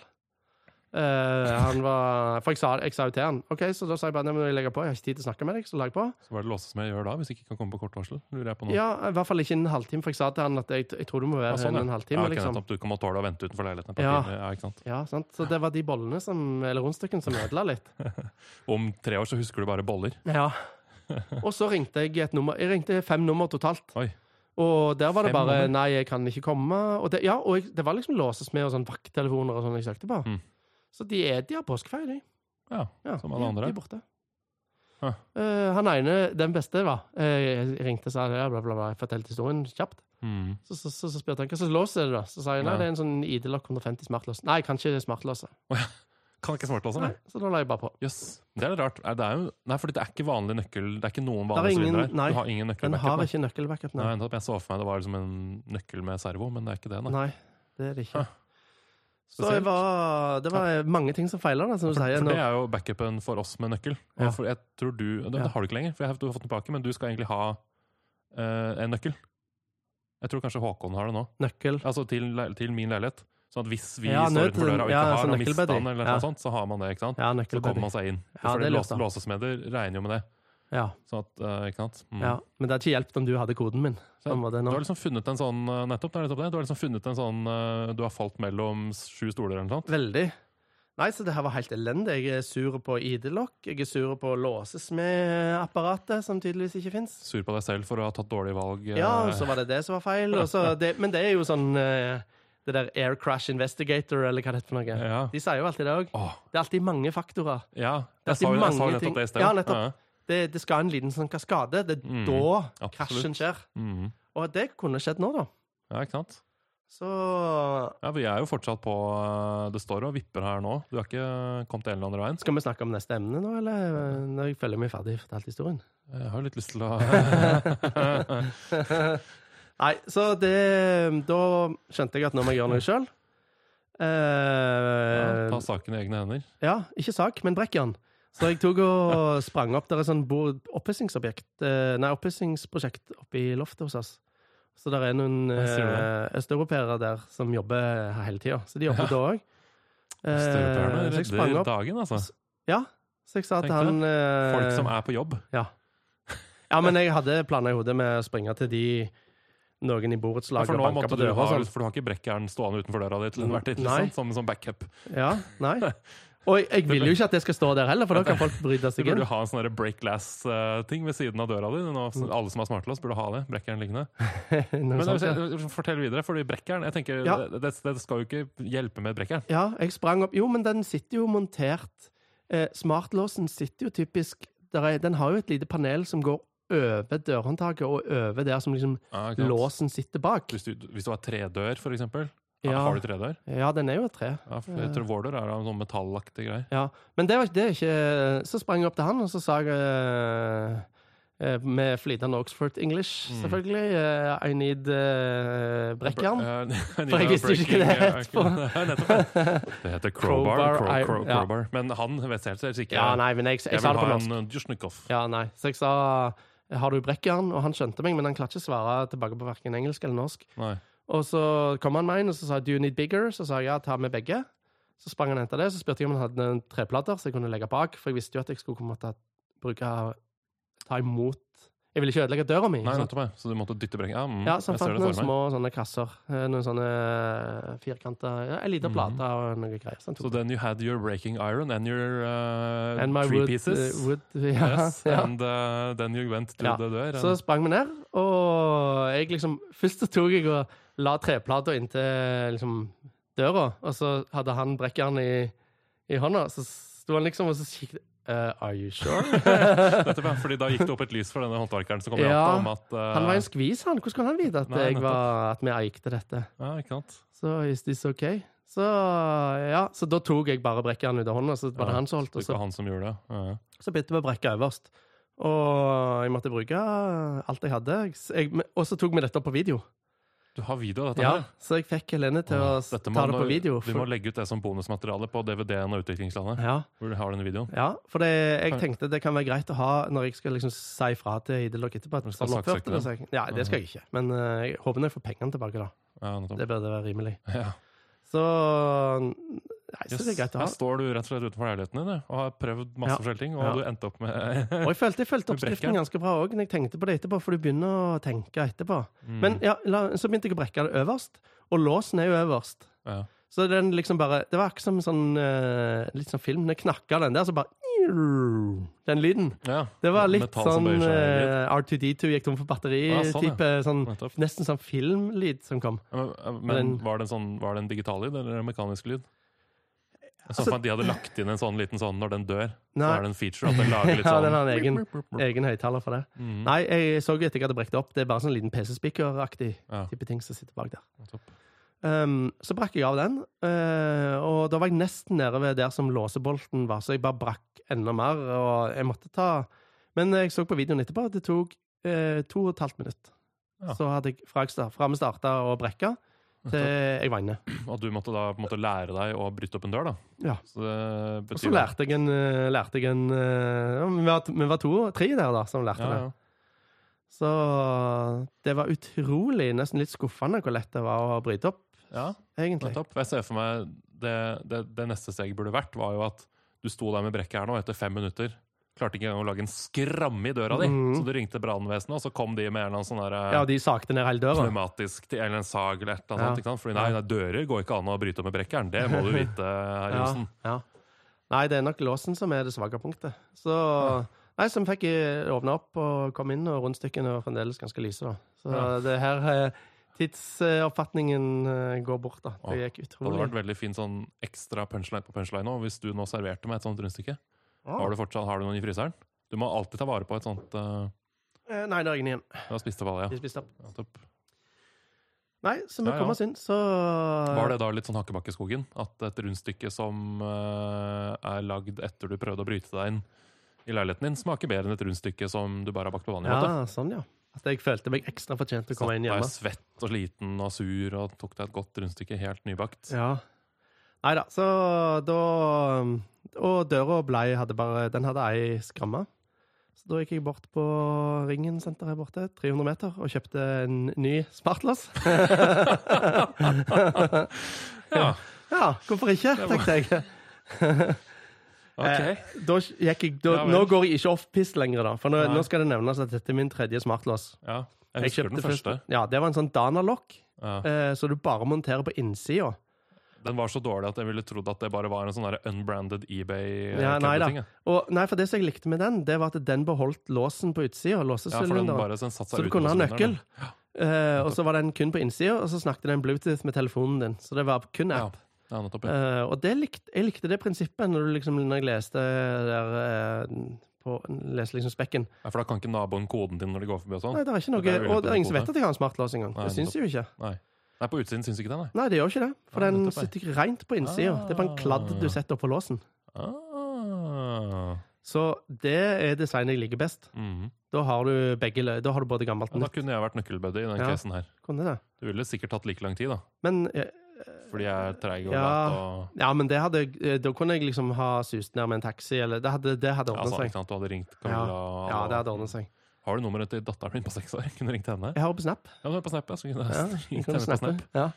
Eh, han var For jeg sa, jeg sa jo til han Ok, så da sa jeg bare "Nei, men jeg legger på. Jeg har ikke tid til å snakke med deg. Så la jeg på.
Så hva er det låses med gjør da, hvis ikke kan komme på kort varsel? Lurer jeg på nå.
Ja, I hvert fall ikke innen en halvtime, for jeg sa til han at jeg, jeg tror det må være
Mm. Ja, sånn, ja.
innen en
Ja,
halvtime.
ok,
liksom.
nettopp. Du kan må tåle å vente utenfor leiligheten. et par
Ja.
timer, Ja, ikke sant?
ja, sant? Så det var de bollene som, eller rundstykken som ødela litt.
Om tre år så husker du bare boller.
Ja.
<laughs>
Og så ringte jeg et nummer. Jeg ringte fem nummer totalt.
Oi.
Og der var det
Fem
bare
nummer?
'nei, jeg kan ikke komme'. Og det, ja, og jeg, det var liksom låses med og sånn vakttelefoner og sånn jeg søkte på.
Mm.
Så de, er, de har påskefeil, de.
Ja,
Ja,
Som alle
de,
andre.
De er borte.
Hæ.
Eh, han ene, den beste, da, eh, jeg ringte og sa ja, bla, bla, bla, jeg fortalte historien kjapt.
Mm.
Så, så, så, så spurte han hva slags lås er det, da. Så sa jeg nei,
Ja.
det er en sånn ID-lokk 150 smartlås. Nei, jeg kan ikke smartlåse.
Kan ikke smartlåse, nei.
Nei, Så da la jeg bare på.
Jøss. Det er litt rart. Er Det er jo, nei, fordi det er ikke vanlig nøkkel. Det er ikke noen
Det er
vanlige
ingen-
sylindere.
nei,
Du har ingen
Den
nøkkelbackup.
har
da.
ikke nøkkelbackup, nei.
Nei, nettopp. jeg så for meg det var liksom en nøkkel med servo, men det er ikke det. Nei. Ah.
Nei, det er det ikke.
Hæ.
Så det var, det var mange ting som feiler, da, som du
Ah. For,
sier.
for
nå.
det er jo backupen for oss med nøkkel. Og
Ja.
for jeg tror du, det,
Ja.
det har du ikke lenger, for jeg har, du har fått den tilbake, men du skal egentlig ha eh, en nøkkel. Jeg tror kanskje Håkon har det nå.
Nøkkel.
Altså til, le- til min leilighet. Sånn at hvis vi
Ja,
står
nød-
utenfor døra og ikke
ja,
har
sånn
og mistet
nøkkelbedre.
den, eller
Ja.
noe sånt, så har man det, ikke sant?
Ja,
Så kommer
nøkkelbedre.
man seg inn.
Ja,
Fordi
det er
lås,
lurt, da.
låsesmeder regner jo med det.
Ja,
Sånn at, eh, ikke sant? Mm.
ja. Men det hadde ikke hjulpet om du hadde koden min. på en måte
Du
nå.
har liksom funnet en sånn eh, nettopp, det er nettopp det. Du har liksom funnet en sånn eh, Du har falt mellom sju stoler eller noe sånt.
Veldig. Nei, så det her var helt elendig. Jeg er sur på ID-lokk. Jeg er sur på låsesmedapparatet, som tydeligvis ikke fins.
Sur på deg selv for å ha tatt dårlige valg. eh,
Ja, og så var det det som var feil. Og så det, men det er jo sånn eh, det der Air Crash Investigator, eller hva det heter for noe.
ja.
De sier jo alltid det òg.
Åh,
Det er alltid mange faktorer.
ja.
Det er
Jeg sa jo
mange
jeg sa jo
ting.
nettopp det i sted.
Ja, nettopp. Det, det skal en liten sånn kaskade. Det er
Mm,
da
absolutt.
krasjen skjer.
Mhm.
Og det kunne skjedd nå, da.
Ja, ikke sant?
Så
Ja, Vi er jo fortsatt på eh, Det står og vipper her nå. Du har ikke kommet en eller annen veien?
Skal vi snakke om neste emne nå, eller eh, når jeg føler meg ferdig fortalt historien?
Jeg har jo litt lyst til å
<laughs> Nei, så det Da skjønte jeg at nå må jeg gjøre noe Eh, sjøl.
ja,
Eh,
ta saken i egne hender.
ja, ikke sak, men brekkjern. Så jeg tok og <laughs> sprang opp der et sånt bord- oppussingsobjekt eh, Nei, oppussingsprosjekt oppe i loftet hos oss. Så der er noen
Jeg ser
eh, østeuropeere der som jobber her hele tida. Så de jobber da òg.
Østeuropeerne
Eh, så jeg sprang
redder
opp.
dagen, altså.
Ja, så jeg sa til
Tenk
han eh,
Folk som er på jobb.
Ja, men jeg hadde planer i hodet med å springe til de noen i
Ja,
borettslaget
for,
og
nå
banke
måtte
på
du
døra
ha,
og sånn.
for du har ikke brekkjern stående utenfor døra di til enhver tid?
Nei.
Liksom, som, som backup.
Ja, nei. Og jeg, jeg vil jo ikke at det skal stå der heller, for da
<laughs>
kan folk bryte
Du
seg inn.
burde jo ha en sånn der break glass-ting ved siden av døra di. Nå,
Mm.
alle som har smartlås, burde ha det. Brekkjern liggende.
<laughs> Noe
Men
sånt, ja.
eh, fortell videre, fordi brekkjern jeg tenker,
Ja.
det, det, det skal jo ikke hjelpe med brekkjern.
ja, jeg sprang opp. Jo, men den sitter jo montert. Eh, smartlåsen sitter jo typisk der er, Den har jo et lite panel som går over dørhåndtaket og over der som liksom
Ja, ikke sant?
låsen sitter bak.
Hvis du, hvis du har tredør, for eksempel. Ja.
Ja,
Har du tredør?
ja den er jo et tre.
Ja, for jeg tror vår dør er av sånn metallaktig greier.
Ja, men det var ikke det er ikke Så sprang jeg opp til han, og så sa jeg eh, eh, med flytende Oxford English,
Mm.
selvfølgelig. eh, I need eh, brekkjern.
<laughs> Eh,
For jeg visste ikke hva det
breaking,
het
eh,
på-
Nei, nettopp <laughs> det.
<laughs>
Det heter crowbar.
Crowbar,
crow,
I-
crow,
ja.
crowbar. Men han vet helt sikkert ikke.
Ja, nei, men jeg, jeg,
jeg
sa
vil
det på
ha
norsk.
en Jusjnikov.
Ja, nei. Så jeg sa har du brekkjern? Og han skjønte meg, men han klarte ikke svare tilbake på hverken engelsk eller norsk.
Nei.
Og så kom han med en, og så sa jeg, do you need bigger? Så sa jeg ja, ta med begge. Så sprang han og henta det. Så spurte jeg om han hadde noen treplater så jeg kunne legge bak, for jeg visste jo at jeg skulle komme til å bruke ta imot Jeg ville ikke ødelegge døra mi.
Nei,
ikke sant?
nettopp. det. Så du måtte dytte brekken? Ja, mm,
Ja, så han
jeg ser
fant
det
noen
for meg.
små sånne kasser. eh, Noen sånne eh, firkanter ja, En liten
Mhm.
plate og noe greier. Så han
So
tok det.
then you had your breaking iron and your uh,
And my
three
wood,
pieces.
eh, wood <laughs> ja,
yes,
ja.
And uh, then you went to
Ja,
the dør.
Så
And,
<laughs> sprang vi ned, og jeg liksom Først så tok jeg og la treplata inntil liksom, døra, og så hadde han brekkjern i, i hånda. Så sto han liksom og så kikket eh, Are you sure?
<laughs> nettopp, ja, fordi da gikk det opp et lys for denne håndverkeren som kom <laughs> ja,
Ja,
om at uh,
Han var en skvis, han. Hvordan kunne han vite at,
Nei,
jeg var, at vi eikte dette?
ja, ikke sant?
Så is this okay? Så ja, så da tok jeg bare brekkjern ut av hånda, så var det
Ja,
han som holdt,
Det
og så,
var han som gjorde det. Ja.
så bytte vi brekka øverst. Og jeg måtte bruke alt jeg hadde. Jeg, s- jeg, men- og så tok vi dette opp på video.
Du har video av dette?
Ja,
her?
så jeg fikk Helene til å
Åh,
s-
dette
ta
må
det
nå-
på video.
Vi må legge ut det som bonusmateriale på DVD-en og Utviklingslandet.
ja,
Hvor du har denne videoen.
ja, for det, jeg
Kan-
tenkte det kan være greit å ha når jeg skal liksom si fra til Hidelok etterpå.
Du
At
skal
sånn
saksøke
oppførte det seg. Ja, det skal jeg ikke. Men eh, jeg håper når jeg får pengene tilbake, da.
Ja, nettopp.
Det burde være rimelig.
Ja.
Så Nei, så det er
Yes.
greit å
Her
ha.
står du rett og slett utenfor leiligheten din du, og har prøvd masse
Ja.
forskjellige ting, og
Ja.
du endte opp med <laughs>
Og jeg følte jeg fulgte
Du brekker
oppskriften
den.
ganske bra òg, når jeg tenkte på det etterpå, for du begynner å tenke etterpå.
Mm,
Men ja, la, så begynte jeg å brekke det øverst, og låsen er jo øverst.
ja.
Så den liksom bare Det var akkurat som en sånn eh, litt sånn film. Når jeg knakka den der, så bare Den lyden.
Ja.
Det var litt
Metall som
sånn
bøyer seg i lyd.
eh, R2D2 gikk tom for
Ah, sånn, ja.
batteri-type. sånn,
Nettopp.
Nesten sånn filmlyd som kom.
Ja, Men, men
den-
var det en sånn, var det en digital lyd eller en mekanisk lyd? Jeg så
Altså-
for meg at de hadde lagt inn en sånn liten sånn når den dør. Så
Nei.
er det en feature at den lager
<laughs>
litt
Ja,
sånn
den har en egen-
<laughs> blup, blup, blup.
Egen høyttaler for det.
Mhm,
Nei, jeg så jo etter jeg hadde brekt det opp. Det er bare sånn liten PC-speaker-aktig
Ja.
type ting som sitter bak der.
nettopp.
Um, så brakk jeg av den, eh, og da var jeg nesten nede ved der som låsebolten var, så jeg bare brakk enda mer, og jeg måtte ta Men jeg så på videoen etterpå at det tok eh, to og et halvt minutt.
Ja.
Så hadde jeg fra jeg sta- fra vi starta å brekke, til jeg var inne.
Og du måtte da på en måte lære deg å bryte opp en dør, da.
Ja.
Så det
Og
betyr
så lærte jeg en, eh, lærte jeg en eh, ja, vi, var, vi var to, tre der da, som lærte
ja, ja.
det. Så det var utrolig, nesten litt skuffende hvor lett det var å bryte opp,
ja,
egentlig.
nettopp. Jeg ser for meg det, det, det neste steget burde vært, var jo at du sto der med brekket her nå, og etter fem minutter klarte ikke engang å lage en skramme i døra di.
Mhm.
Så du ringte brannvesenet, og så kom de med en eller annen sånn der, eh,
Ja, de sakte ned hele døra.
pneumatisk til- eller en sag eller et eller
Ja.
annet. Ikke sant? Fordi nei, nei, dører går ikke an å bryte opp med brekkeren.
<laughs>
Det må du vite, herr Johnsen.
Ja. Nei, det er nok låsen som er det svake punktet. Så Nei, som fikk åpna opp og kom inn, og rundstykkene var fremdeles ganske lyse, da. Så
Ja.
det her eh, Tidsoppfatningen eh, går bort, da. Det gikk
Det hadde
utrolig.
vært veldig fin sånn ekstra punchline på punchline nå, hvis du nå serverte meg et sånt rundstykke.
Ah.
Har du fortsatt har du noen i fryseren? Du må alltid ta vare på et sånt eh,
Eh, Nei, det er ingen igjen.
Du har spist opp alle, ja.
De spiste opp.
ja. topp.
Nei, så vi
Ja, ja.
kom oss inn, så
Var det da litt sånn Hakkebakkeskogen? At et rundstykke som eh, er lagd etter du prøvde å bryte deg inn i leiligheten din, smaker bedre enn et rundstykke som du bare har bakt på vanlig måte?
Ja, sånn, ja. At jeg følte meg ekstra fortjent til å komme inn hjemme.
deg svett og sliten og sur og tok deg et godt rundstykke helt nybakt.
Ja. Nei da, så da um, Og døra og blei hadde bare Den hadde ei skramme. Så da gikk jeg bort på Ringen senter her borte, 300 meter, og kjøpte en ny smartlås.
<laughs> Ja.
ja, hvorfor ikke, tenkte
<laughs>
jeg.
Ok.
Eh, Da gikk jeg, da,
Ja vel.
nå går jeg ikke off-piss lenger, da. For nå,
Nei.
nå skal det nevnes at dette er min tredje smartlås.
Ja. Jeg husker den
først-
første.
Ja, Det var en sånn Danalokk,
Ja.
eh, så du bare monterer på innsida.
Den var så dårlig at jeg ville trodd at det bare var en sånn der unbranded ebay eh,
Ja, nei da.
ting.
Og, nei, for det som jeg likte med den, det var at den beholdt låsen på utsida.
Ja, for den
Låsesylinderen.
bare den satt seg
så du
utenfor
kunne ha nøkkel.
sylinderen.
Eh, og så var den kun på innsida, og så snakket den Bluetooth med telefonen din. Så det var kun
Ja.
app.
Ja, nettopp. ja.
Eh, og det likte, jeg likte det prinsippet når, du liksom, når jeg leste der eh, på, leste liksom spekken.
Ja, for da kan ikke naboen koden din når de går forbi og sånn?
Nei, det er ikke
Det er
noe
jo
Og det er ingen som vet
ulempe med
at jeg har en smartlås engang.
Nei,
Det syns jeg jo ikke.
Nei. Nei, på utsiden syns ikke den, nei.
Nei, det gjør ikke det. For
Nei,
den
nettopp, nei.
sitter rent på innsida. Det er bare en kladd du setter oppå låsen.
Ah.
Så det er designet jeg liker best.
Mhm.
Da har du, begge, lø- da har du både gammelt
ja,
og
da
nytt.
kunne jeg vært nøkkelbuddy i den
Ja.
casen her.
Kunne det.
Det ville sikkert tatt like lang tid, da.
Men eh,
Fordi jeg er treig og
Ja.
lat og
Ja, men det hadde, eh, da kunne jeg liksom ha sust ned med en taxi, eller det hadde, det hadde
ja,
ordnet
sånn,
seg.
ikke sant? Du hadde ringt Camilla og-
Ja, det hadde ordnet seg.
Har du nummeret til datteren min på seks år? <laughs> Kunne du ringt henne?
Jeg har jo på Snap.
Ja, hun er på Snap, <laughs> ja. Så kunne
Ja,
jeg
jeg
ringt
kan
henne på
snappe.
Snap.
Ja.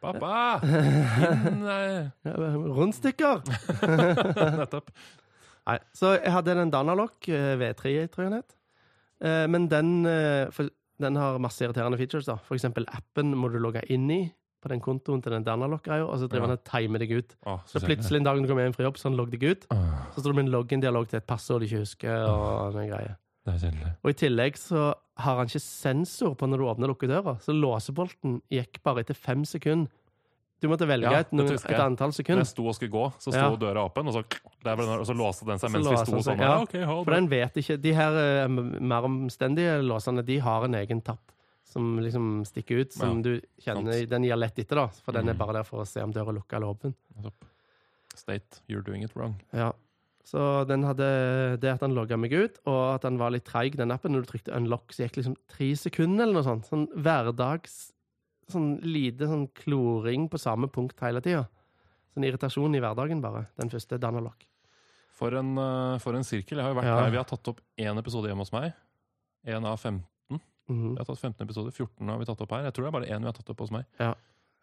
Pappa! Inn, eh,
<laughs> Ja, Rundstykker!
<laughs> Nettopp.
Nei, så jeg hadde den Danalok eh, V3, tror jeg den het. Eh, Men den, eh, for, den har masse irriterende features, da. For eksempel appen må du logge inn i på den kontoen til den Danalok-greia, og så driver
Ja.
den og timer deg ut.
Å,
Så
kjedelig.
plutselig en dag når du kommer hjem fra jobb, så har den logget deg ut.
Åh,
Så står det med en login-dialog til et passord du ikke husker, og den greia.
Det er kjedelig.
Og i tillegg så har han ikke sensor på når du åpner og lukker døra, så låsebolten gikk bare etter fem sekunder. Du måtte velge
Ja,
et,
det
noe,
husker jeg.
et antall
Når jeg
sekunder,
sto og skulle gå, så sto
Ja.
døra åpen, og så, der ble den, og så låste den seg
Så
mens vi
låste
sto
den seg,
sånn.
ja.
Ja, ok, hold
for den vet ikke. De her eh, m- mer omstendige låsene, de har en egen tapp som liksom stikker ut, som
Ja,
du kjenner
sant.
Den gir lett etter, da, for den
Mm.
er bare der for å se om døra er lukka eller åpen.
Nettopp. State, you're doing it wrong.
Ja. Så den hadde det at han logga meg ut, og at han var litt treig, den appen, når du trykte unlock, så gikk det liksom tre sekunder eller noe sånt. Sånn hverdags sånn lite sånn kloring på samme punkt hele tida. Sånn irritasjon i hverdagen, bare. Den første Danalok.
For en, eh, for en sirkel. Jeg har jo vært
Ja.
her. Vi har tatt opp én episode hjemme hos meg. En av 15.
Mhm.
Vi har tatt 15 episoder. 14 har vi tatt opp her. Jeg tror det er bare én vi har tatt opp hos meg.
Ja.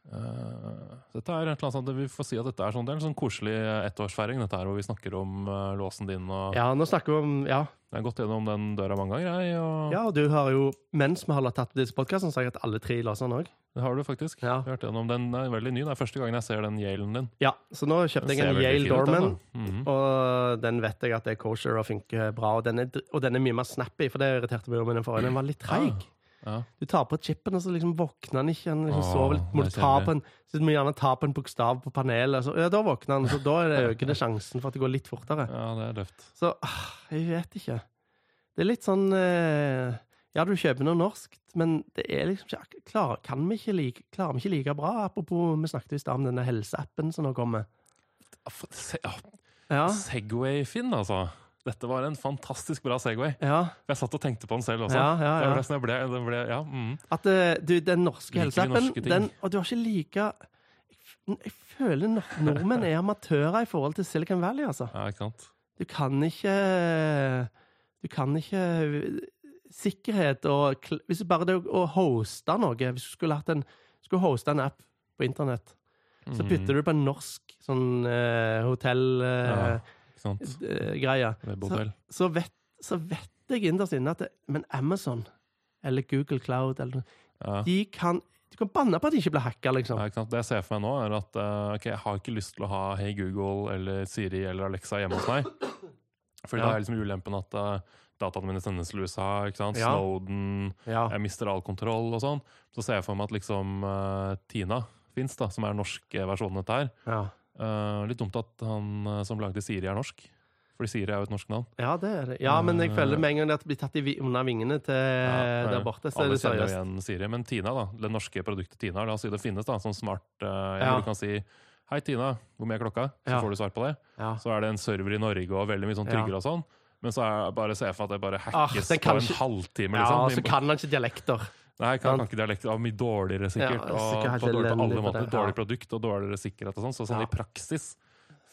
Eh, dette er et eller annet sånt, Vi får si at dette er sånn, det er en sånn koselig ettårsfeiring, dette her, hvor vi snakker om eh, låsen din. og
ja, nå snakker vi om Ja,
Jeg har gått gjennom den døra mange ganger. Jeg, og
ja og du har jo, mens vi har tatt disse podkastene, sagt at alle tre låser den òg.
Det har du faktisk.
Ja.
Jeg har hørt gjennom den Den er veldig ny. Det er første gangen jeg ser den Yalen din.
Ja, så nå kjøpte
Den
jeg
ser
en
veldig
Yale
fin ut, den,
Dorman.
da. Mhm.
Og den vet jeg at det er kosher og funker bra. Og den er, dr- og den er mye mer snappy, for det irriterte meg jo med den forrige. Den var litt treig.
Ja.
Du tar på chipen, og så liksom våkner den ikke. Den liksom
Åh,
sover litt. Må
det
du
er
ta på en, så må du gjerne ta på en bokstav på panelet, så ja, da våkner den. Så da er det økende sjansen for at det går litt fortere.
ja, det er løft.
Så ah, jeg vet ikke. Det er litt sånn eh, Ja, du kjøper noe norskt, men det er liksom ikke ak- klar, kan vi ikke like, Klarer vi ikke like bra? Apropos, vi snakket i stad om denne helseappen som nå kommer. Ah,
Se, ja,
Ja,
Segway, Finn, Ah, altså. Dette var en fantastisk bra Segway.
ja,
Jeg satt og tenkte på den selv også.
ja. ja,
Det
ja.
var nesten jeg ble, det ble, ja, mm.
At eh, du, den norske
Liker vi
helseappen
norske ting?
den, Og du har ikke like Jeg f- Jeg føler nor- nordmenn er amatører i forhold til Silicon Valley, altså.
ja, ikke sant.
Du kan ikke Du kan ikke Sikkerhet og kl- Hvis du bare det å- å hoste noe Hvis du skulle, hatt en, skulle hoste en app på internett,
Mhm.
så bytter du på en norsk sånn
Ja,
hotellgreie,
Ikke sant. Webhotell.
så, vet- så vet jeg innerst inne at det, Men Amazon eller Google Cloud eller noe
Ja.
de kan Du kan banne på at de ikke blir hacka, liksom.
Ja, ikke sant? Det jeg ser for meg nå, er at eh, ok, jeg har ikke lyst til å ha Hey Google eller Siri eller Alexa hjemme hos meg. Fordi
Ja.
da er liksom ulempen at eh, dataene mine sendes til USA, ikke sant?
Ja.
Snowden,
Ja.
jeg mister all kontroll og sånn. Så ser jeg for meg at liksom eh, Tina fins, da, som er den norske versjonen av dette her.
Ja.
Eh, litt dumt at han eh, som lagde Siri, er norsk. Fordi Siri er jo et norsk navn.
ja, det er det. Ja, men jeg føler med en gang at det blir tatt i vi- under vingene til
Ja,
Eh, der
ja.
borte, så er
Alle
det
kjenner jo
seriøst.
igjen Siri, men Tina, da, det norske produktet Tina, la oss si det finnes da, sånn smart eh, hvor
Ja.
Du kan si 'Hei, Tina, hvor mye er klokka?' Så
Ja.
får du svar på det.
Ja.
Så er det en server i Norge og veldig mye sånn
Ja.
trygger og sånn. Men så er bare se for meg at det bare
Ah,
hackes
den
på
kan
en
ikke-
halvtime.
Ja,
liksom.
og så
Vi-
kan han ikke dialekter.
Nei, jeg kan, kan ikke dialekt. Det var mye dårligere, sikkert.
Ja,
og
sikkert helt
på, dårlig, på alle
elendig på
måter.
det, ja.
Dårlig produkt og dårligere sikkerhet og sånn. Så sånn
Ja.
i praksis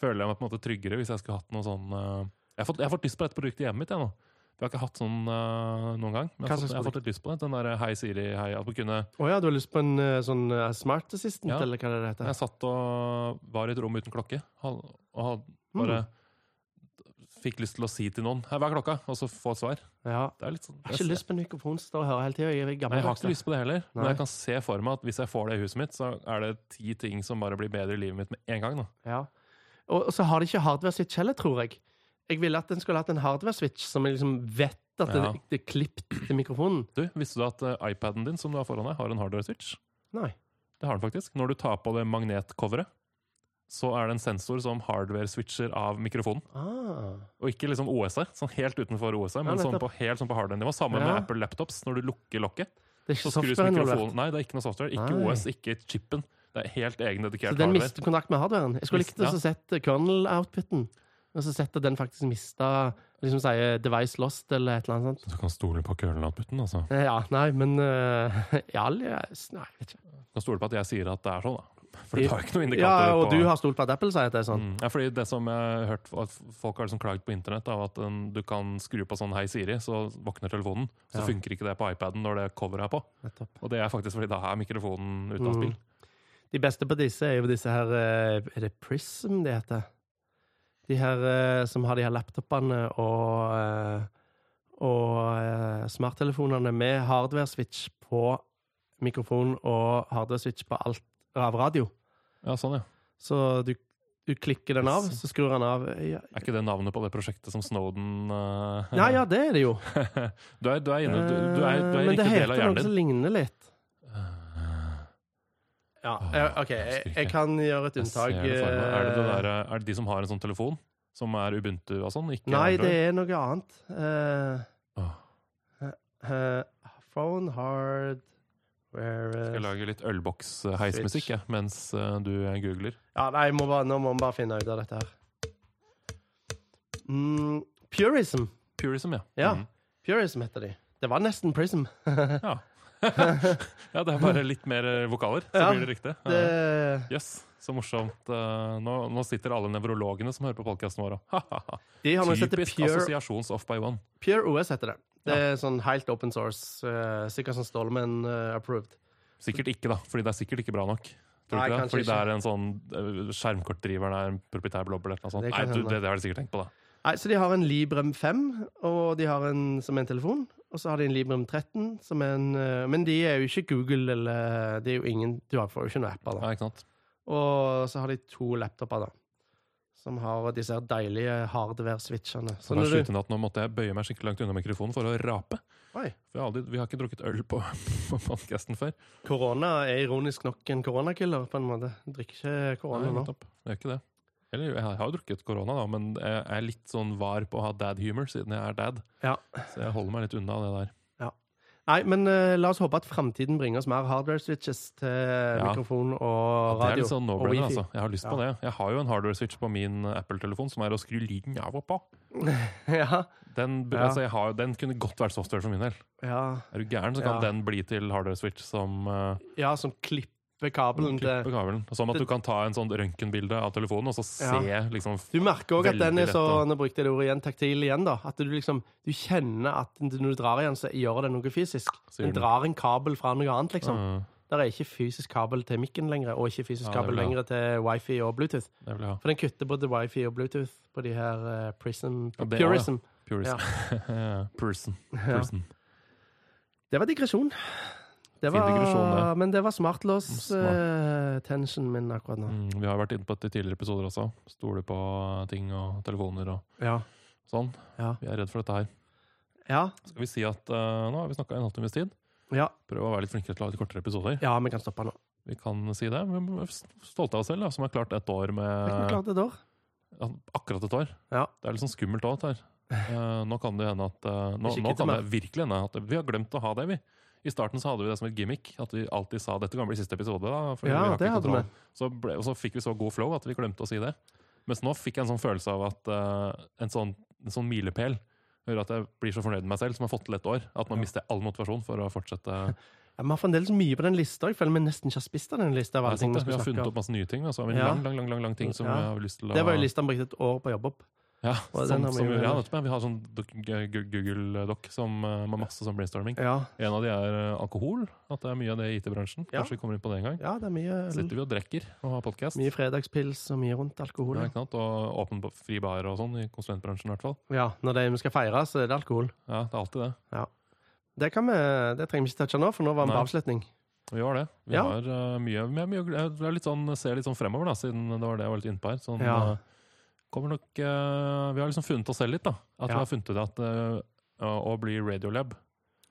føler jeg meg på en måte tryggere hvis jeg skulle hatt noe sånn eh, jeg, har fått, jeg har fått lyst på dette produktet hjemme mitt, jeg nå. Jeg har ikke hatt sånn eh, noen gang.
Hva
Men jeg har,
slags
fått, jeg har fått litt lyst på det. Den der eh, Hei Siri, hei. At man kunne
Å ja, du har lyst på en eh, sånn eh, smart assistant,
Ja.
eller hva det heter?
Jeg satt og var i et rom uten klokke. hal- Og had,
Mm.
bare fikk lyst til å si til noen Hei, hva er klokka? Og så få et svar.
Ja.
Det er litt sånn
Jeg har ikke lyst på en mikrofon som står og hører hele tida. Jeg er
Nei, jeg har ikke
gammel.
lyst på det heller, men
Nei.
jeg kan se for meg at hvis jeg får det i huset mitt, så er det ti ting som bare blir bedre i livet mitt med en gang. da.
Ja. Og, og så har de ikke hardware-switch heller, tror jeg. Jeg ville at den skulle hatt en hardware-switch som jeg liksom vet at
Ja.
det, det er klippet til mikrofonen.
Du, Visste du at eh, iPaden din som du har foran deg, har en hardware switch?
Nei.
Det har den faktisk. Når du tar på det magnetcoveret, så er det en sensor som hardware-switcher av mikrofonen.
Ah.
Og ikke liksom OSR, sånn helt utenfor OSR, men sånn
nettopp.
på, helt sånn på hardware-nivå. Samme med
Ja.
Apple laptops. Når du lukker lokket,
Det er ikke
så skrus
software involvert.
mikrofonen Nei, det er ikke noe software. Ikke
Nei.
OS, ikke chipen. Det er helt egen
Så
dedikert
den
hardware.
mister kontakt med hardwaren. Jeg skulle
Mist-
likt å sett kernel-outputen. Og så sett at den faktisk mista liksom sier 'device lost' eller et eller annet sånt.
Du kan stole på kølelappbutten, altså.
Eh, Ja, nei, men eh, <laughs> ja, eller, Nei, jeg vet ikke.
Du kan stole på at jeg sier at det er sånn, da. For
Ja.
det har ikke noen indikator
Ja, og
på
du har stolt på at Apple sier at det er sånn.
Mm. Ja, fordi det som jeg har hørt at Folk har liksom klaget på internett av at en, du kan skru på sånn 'Hei, Siri', så våkner telefonen. Så
Ja.
funker ikke det på iPaden når det coveret er på.
Nettopp.
Og det er faktisk fordi da er mikrofonen ute av
Mm.
spill.
De beste på disse er jo disse her eh, Er det Prism de heter? De her eh, som har de her laptopene og eh, og eh, smarttelefonene med hardware-switch på mikrofon og hardware-switch på alt av radio.
Ja, sånn, ja.
Så du, du klikker den av, så skrur den av. Ja,
Er ikke det navnet på det prosjektet som Snowden eh,
ja, ja, det er det jo.
<laughs>
Eh,
Du er, du er inne, du, du er, du er i
Men det
riktig del
heter
av
noe
hjernen
som
din.
ligner litt.
Eh,
Ja,
Åh,
jeg, OK,
Ah, jeg
jeg,
husker
jeg
ikke.
kan gjøre et
jeg ser
unntak.
det for meg. Er det, det
eh,
der, eh, er det de som har en sånn telefon? Som er Ubuntu og sånn? Ikke
Nei, det
Android?
er noe annet. Eh,
Åh,
eh, phone hardware
skal jeg
eh,
lage litt ølboks-heismusikk jeg, mens eh, du googler?
Ja, nei, jeg må bare, nå må vi bare finne ut av dette her. Mm, purism.
Purism, ja.
Ja.
Mm.
Purism heter de. Det var nesten prism. <laughs>
ja. Ja, det er bare litt mer eh, vokaler, så
Ja,
blir det riktig.
Det,
Eh, Yes, så morsomt. Eh, Nå, nå sitter alle nevrologene som hører på podkasten vår og <laughs> ha-ha-ha.
de har noe som heter
Typisk
Pure,
assosiasjons off by one.
Pure OS, heter det. Det er sånn helt open source, eh, sikkert sånn Stallman eh, approved.
Sikkert ikke, da, fordi det er sikkert ikke bra nok.
Nei,
Tror du ikke det?
kanskje
Fordi det
ikke.
er en sånn eh, Skjermkortdriveren er en proprietær blob eller noe sånt.
Det
Nei,
kan
du,
hende.
det, det har de sikkert tenkt på, da.
Nei, så de har en Librem 5, og de har en som er en telefon. Og så har de en Librem 13, som er en eh, Men de er jo ikke Google, eller eh, det er jo ingen Du har- får jo ikke noen apper, da.
Nei, ikke sant?
Og så har de to laptoper, da. Som har disse her deilige hardware-switchene. Så
Så nå,
når du
at nå måtte Sånn, jeg bøye meg skikkelig langt unna mikrofonen for å rape.
Oi.
For jeg har aldri, vi har ikke drukket øl på, <laughs> på podkasten før.
Korona er ironisk nok en koronakiller, på en måte. Du drikker ikke korona
Nei,
nå.
nettopp. Det er ikke det. Eller, jeg har jo drukket korona, da, men jeg er litt sånn var på å ha dad humor siden jeg er dad.
Ja.
Så jeg holder meg litt unna det der.
Nei, men eh, la oss håpe at framtiden bringer oss mer hardware-switches til mikrofon og
Det er
radio.
litt sånn
og
no-brainer,
wifi.
altså. Jeg har lyst på det. Jeg har jo en hardware switch på min Apple-telefon som er å skru lyden av og på.
<laughs> ja,
Den,
Ja.
altså, jeg har, den kunne godt vært software for min del.
ja,
Er du gæren, så kan
Ja.
den bli til hardware switch som eh,
ja, som klipper kabelen
klipper
til
kabelen. Som at du kan ta en sånn røntgenbilde av telefonen og så se liksom
Du merker òg at den
Veldig
er så
lett,
nå brukte jeg det ordet igjen, taktil igjen. da, At du liksom, du kjenner at når du drar igjen, så gjør det noe fysisk.
Så gjør
Den
den.
drar en kabel fra noe annet, liksom.
eh,
Der er ikke fysisk kabel til mikken lenger, og ikke fysisk
Ja, det er
kabel
bra.
lenger til wifi og Bluetooth.
Det vil jeg ha.
For den kutter både wifi og Bluetooth på de her eh, Prism
Ja, det
Purism.
<laughs> Purism. Person. Person.
Det var digresjon. Det
Fin
var,
digresjon, det.
Men det var smartlås-tensionen
Smart.
eh, min akkurat nå.
Mm, vi har vært inne på dette i tidligere episoder også. Stole på ting og telefoner og
Ja.
sånn.
Ja.
Vi er redd for dette her.
Ja,
Skal vi si at eh, nå har vi snakka en halvtimes tid.
ja,
Prøv å være litt flinkere til å ha litt kortere episoder.
ja, vi kan stoppe nå.
Vi kan si det. Vi er stolte av oss selv, da, som har klart ett år
Vi
med
klarte det da.
Ja, Akkurat et år.
Ja.
Det er litt sånn skummelt òg, dette her.
<laughs>
Eh, nå kan det hende at eh, nå,
Ikke
nå
kutte
kan det
meg.
virkelig hende at vi har glemt å ha det, vi. I starten så hadde vi det som et gimmick, at vi alltid sa 'dette kan bli siste episode'. da, for
Ja,
vi har ikke
det hadde
kontroll». Så, ble, og så fikk vi så god flow at vi glemte å si det. Mens nå fikk jeg en sånn følelse av at eh, en, sånn, en sånn milepæl gjør at jeg blir så fornøyd med meg selv, som har fått til et år, at nå mister jeg all motivasjon for å fortsette.
Ja, vi har fremdeles mye på den lista. Jeg føler vi nesten ikke har spist av den lista. av
Nei,
alle ting vi
sant, det. Vi
skulle
har
snakke
funnet
om.
opp masse nye ting. da, Så har vi en
Ja.
lang, lang, lang, lang, lang ting som
Ja.
vi har lyst til å
Det var jo lista vi brukte et år på å jobbe opp.
Ja,
Og den
sånn,
har vi
som,
jo
ja
heller.
nettopp. ja. Vi har sånn dok- gu- gu- Google Doc som, eh, med masse sånn brainstorming.
Ja,
En av de er eh, alkohol. At det er mye av det i IT-bransjen.
Ja.
Kanskje vi kommer inn på det en gang.
ja det er mye,
Sitter vi og drikker og har podkast.
mye fredagspils og mye rundt alkohol.
Ja,
ja.
ikke sant? og åpen ba- fri bar og sånn i konsulentbransjen i hvert fall.
Ja, når det er, vi skal feire, så er det alkohol.
Ja, det er alltid det.
Det, kan vi, det trenger vi ikke touche nå, for nå var vi
Nei.
på avslutning.
Og Vi har det. Vi
Ja.
har eh, mye, vi har mye Jeg er litt sånn, ser litt sånn fremover, da, siden det var det jeg var litt inne på her. Sånn,
Ja.
eh, kommer nok, eh, vi har liksom funnet oss selv litt. da. At
Ja.
vi har funnet ut at eh, å bli Radiolab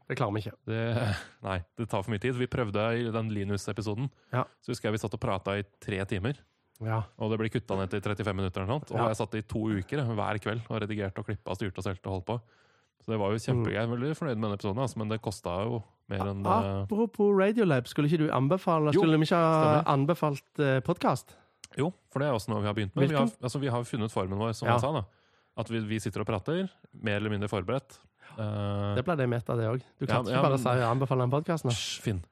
Det klarer vi ikke.
Det, <laughs> nei, det tar for mye tid. Vi prøvde i den Linus-episoden.
Ja.
Så husker jeg vi satt og prata i tre timer,
Ja.
og det ble kutta ned til 35 minutter. eller noe sånt. Og
Ja.
jeg satt i to uker eh, hver kveld og redigerte og klippa og styrte og stelte og holdt på. Så det var jo kjempegøy. Jeg er veldig fornøyd med den episoden, altså, men det kosta jo mer enn det.
Ah, Apropos Radiolab, skulle ikke du anbefale
eh, Jo,
Skulle vi ikke ha
stemmer.
anbefalt eh, podkast?
Jo, for det er også noe vi har begynt med. Vi har,
Hvilken?
altså, vi har funnet formen vår, som
Ja.
han sa. da. At vi, vi sitter og prater, mer eller mindre forberedt. Eh,
Det ble det meta, det òg. Du kan
Ja, ja,
ikke bare
men-
si anbefale en podkast
<laughs>
nå.
Hysj, Finn.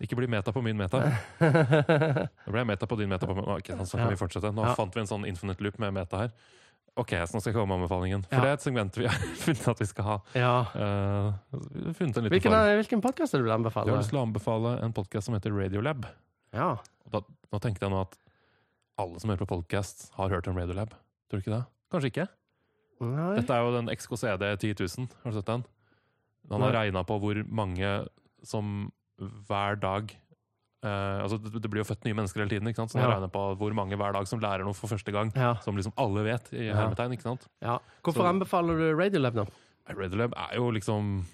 Ikke bli meta på min meta.
<laughs>
Nå ble jeg meta på din meta på min. Ok, nå skal
Ja.
vi fortsette. Nå
Ja.
fant vi en sånn infinite loop med meta her. Ok, så nå skal jeg komme med anbefalingen. For
Ja.
det er et segment vi har <laughs> funnet at vi skal ha.
<laughs> Ja.
eh, funnet en liten
Hvilken,
form.
er- hvilken podkast vil du
Jeg har
anbefale?
lyst til å anbefale en podkast som heter Radiolab.
Ja.
Og da, nå tenkte jeg nå at alle som hører på podkast, har hørt om Radiolab. Tror du ikke det? Kanskje ikke?
Nei.
Dette er jo den XKCD 10 000. Har du sett den? Han har
Nei.
regna på hvor mange som hver dag eh, altså det, det blir jo født nye mennesker hele tiden, ikke sant? så han har
Ja.
regnet på hvor mange hver dag som lærer noe for første gang.
Ja.
Som liksom alle vet, i
Ja.
hermetegn. ikke sant?
ja. Hvorfor
Så-
anbefaler du Radiolab nå?
Radiolab er jo liksom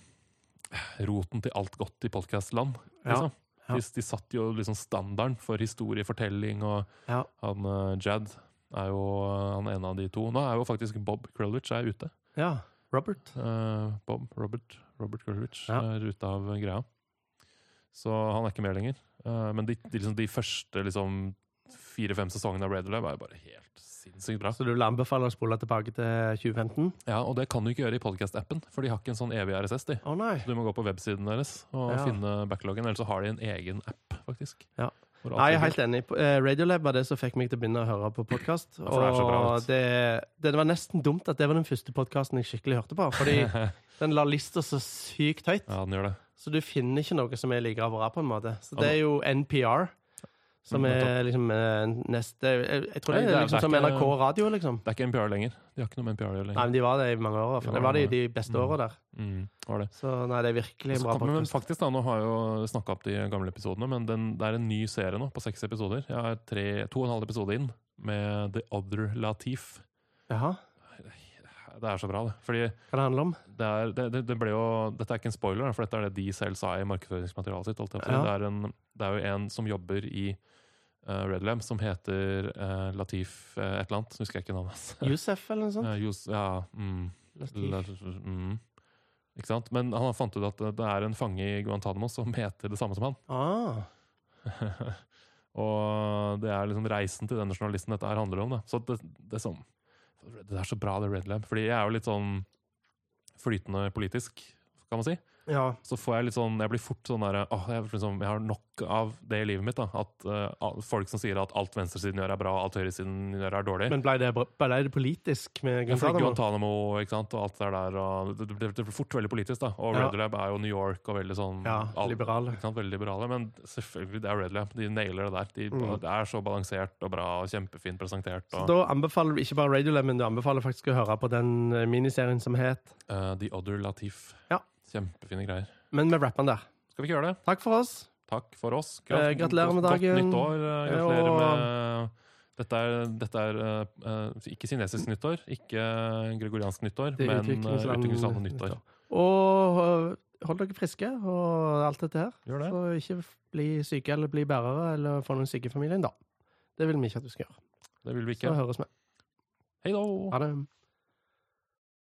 roten til alt godt i podkastland.
Ja.
Liksom.
Ja.
De, de satt jo liksom standarden for historiefortelling, og
Ja.
han eh, Jad er jo eh, han ene av de to. Nå er jo faktisk Bob Krulwich er ute.
ja. Robert.
Eh, Bob, Robert, Robert Krulwich
Ja.
er ute av greia. Så han er ikke med lenger. Eh, men de, de, liksom, de første liksom, fire-fem sesongene av Red Alert var jo bare helt sinnssykt bra.
Så du vil anbefale å spole tilbake til 2015?
Ja, Og det kan du ikke gjøre i podcast-appen, for de har ikke en sånn evig RSS. de.
Å nei.
Så Du må gå på websiden deres og
Ja.
finne backloggen, eller så har de en egen app, faktisk.
Ja.
Hvor alt
Nei, jeg er
ligger.
helt enig. Eh, Radiolab var det som fikk meg til å begynne å høre på podkast.
Ja, for det er så bra, vet
Og det, det var nesten dumt at det var den første podkasten jeg skikkelig hørte på.
<laughs>
Fordi den la lista så sykt høyt,
Ja, den gjør det.
så du finner ikke noe som er like bra, på en måte. Så det er jo NPR. Som
Mm,
er liksom eh, neste Jeg, jeg tror
Nei,
det
det
er
er- det er
liksom som
ikke-
NRK radio, liksom.
Det er ikke NPR lenger. De har ikke noe med NPR å gjøre
Nei,
lenger.
men de var det i mange år. i hvert fall. Det
De var
var de,
det.
de beste
Mm.
åra der.
Mm, var det.
Så nei, det er virkelig en
Så
bra
kom- men
podkast.
faktisk da, Nå har jeg jo snakka opp de gamle episodene, men den, det er en ny serie nå på seks episoder. Jeg har tre, to og en halv episode inn med The Other Latif.
Jaha,
Det er så bra, det. Fordi
hva det handler om?
det er, det, det, det ble jo, dette er ikke en spoiler, da, for dette er det de selv sa i markedsføringsmaterialet sitt. Alt
Ja.
det, er en, det er jo en som jobber i eh, Red Lamp, som heter eh, Latif eh, et eller annet. Husker jeg ikke navnet hans.
Yousef, eller noe sånt?
Eh, Jus- ja, mm.
Latif.
Eller- Mm. Ikke sant? Men han fant ut at det er en fange i Guantánamo som <laughs> heter det samme som han.
Ah,
og det er liksom reisen til denne journalisten dette her handler om. Da. Så det, det, er sånn, det er så bra, det Red Lab. Fordi jeg er jo litt sånn flytende politisk, kan man si.
ja.
Så får jeg litt sånn, jeg blir fort sånn der åh, jeg, blir liksom, jeg har nok av det i livet mitt. da, At eh, al- folk som sier at alt venstresiden gjør er bra, alt høyresiden gjør er dårlig.
Men ble det, ble det politisk med
Ja, fordi
Guantánamo?
Guantánamo ikke sant, og alt det der. Og det, det, det blir fort veldig politisk, da. Og
Ja.
Red Lab er jo New York og veldig sånn
Ja,
alt-
liberale.
ikke sant, veldig liberale. Men selvfølgelig, det er Red Lab. De nailer det der. De,
Mm.
Det er så balansert og bra og kjempefint presentert.
Så
Og,
da anbefaler du ikke bare Radiolab, men du anbefaler faktisk å høre på den eh, miniserien som het
eh, The Other Latif.
Ja.
Kjempefine greier.
Men med rappen der.
Skal vi ikke gjøre det?
Takk for oss.
Takk for oss.
Eh, gratulerer med
godt-
dagen.
Godt nyttår. eh,
Eh,
Gratulerer
og-
med dette er, dette er eh, eh, ikke kinesisk nyttår, ikke eh, gregoriansk nyttår,
Det er
men eh,
utviklingsland-
utviklingsland og nyttår.
Og eh, hold dere friske og alt dette her.
Gjør det.
Så ikke f- bli syke eller bli bærere eller få noen syke i familien, da. Det vil vi ikke at du skal gjøre.
Det vil vi
Så
ikke.
høres vi.
Hei då!
Ha det.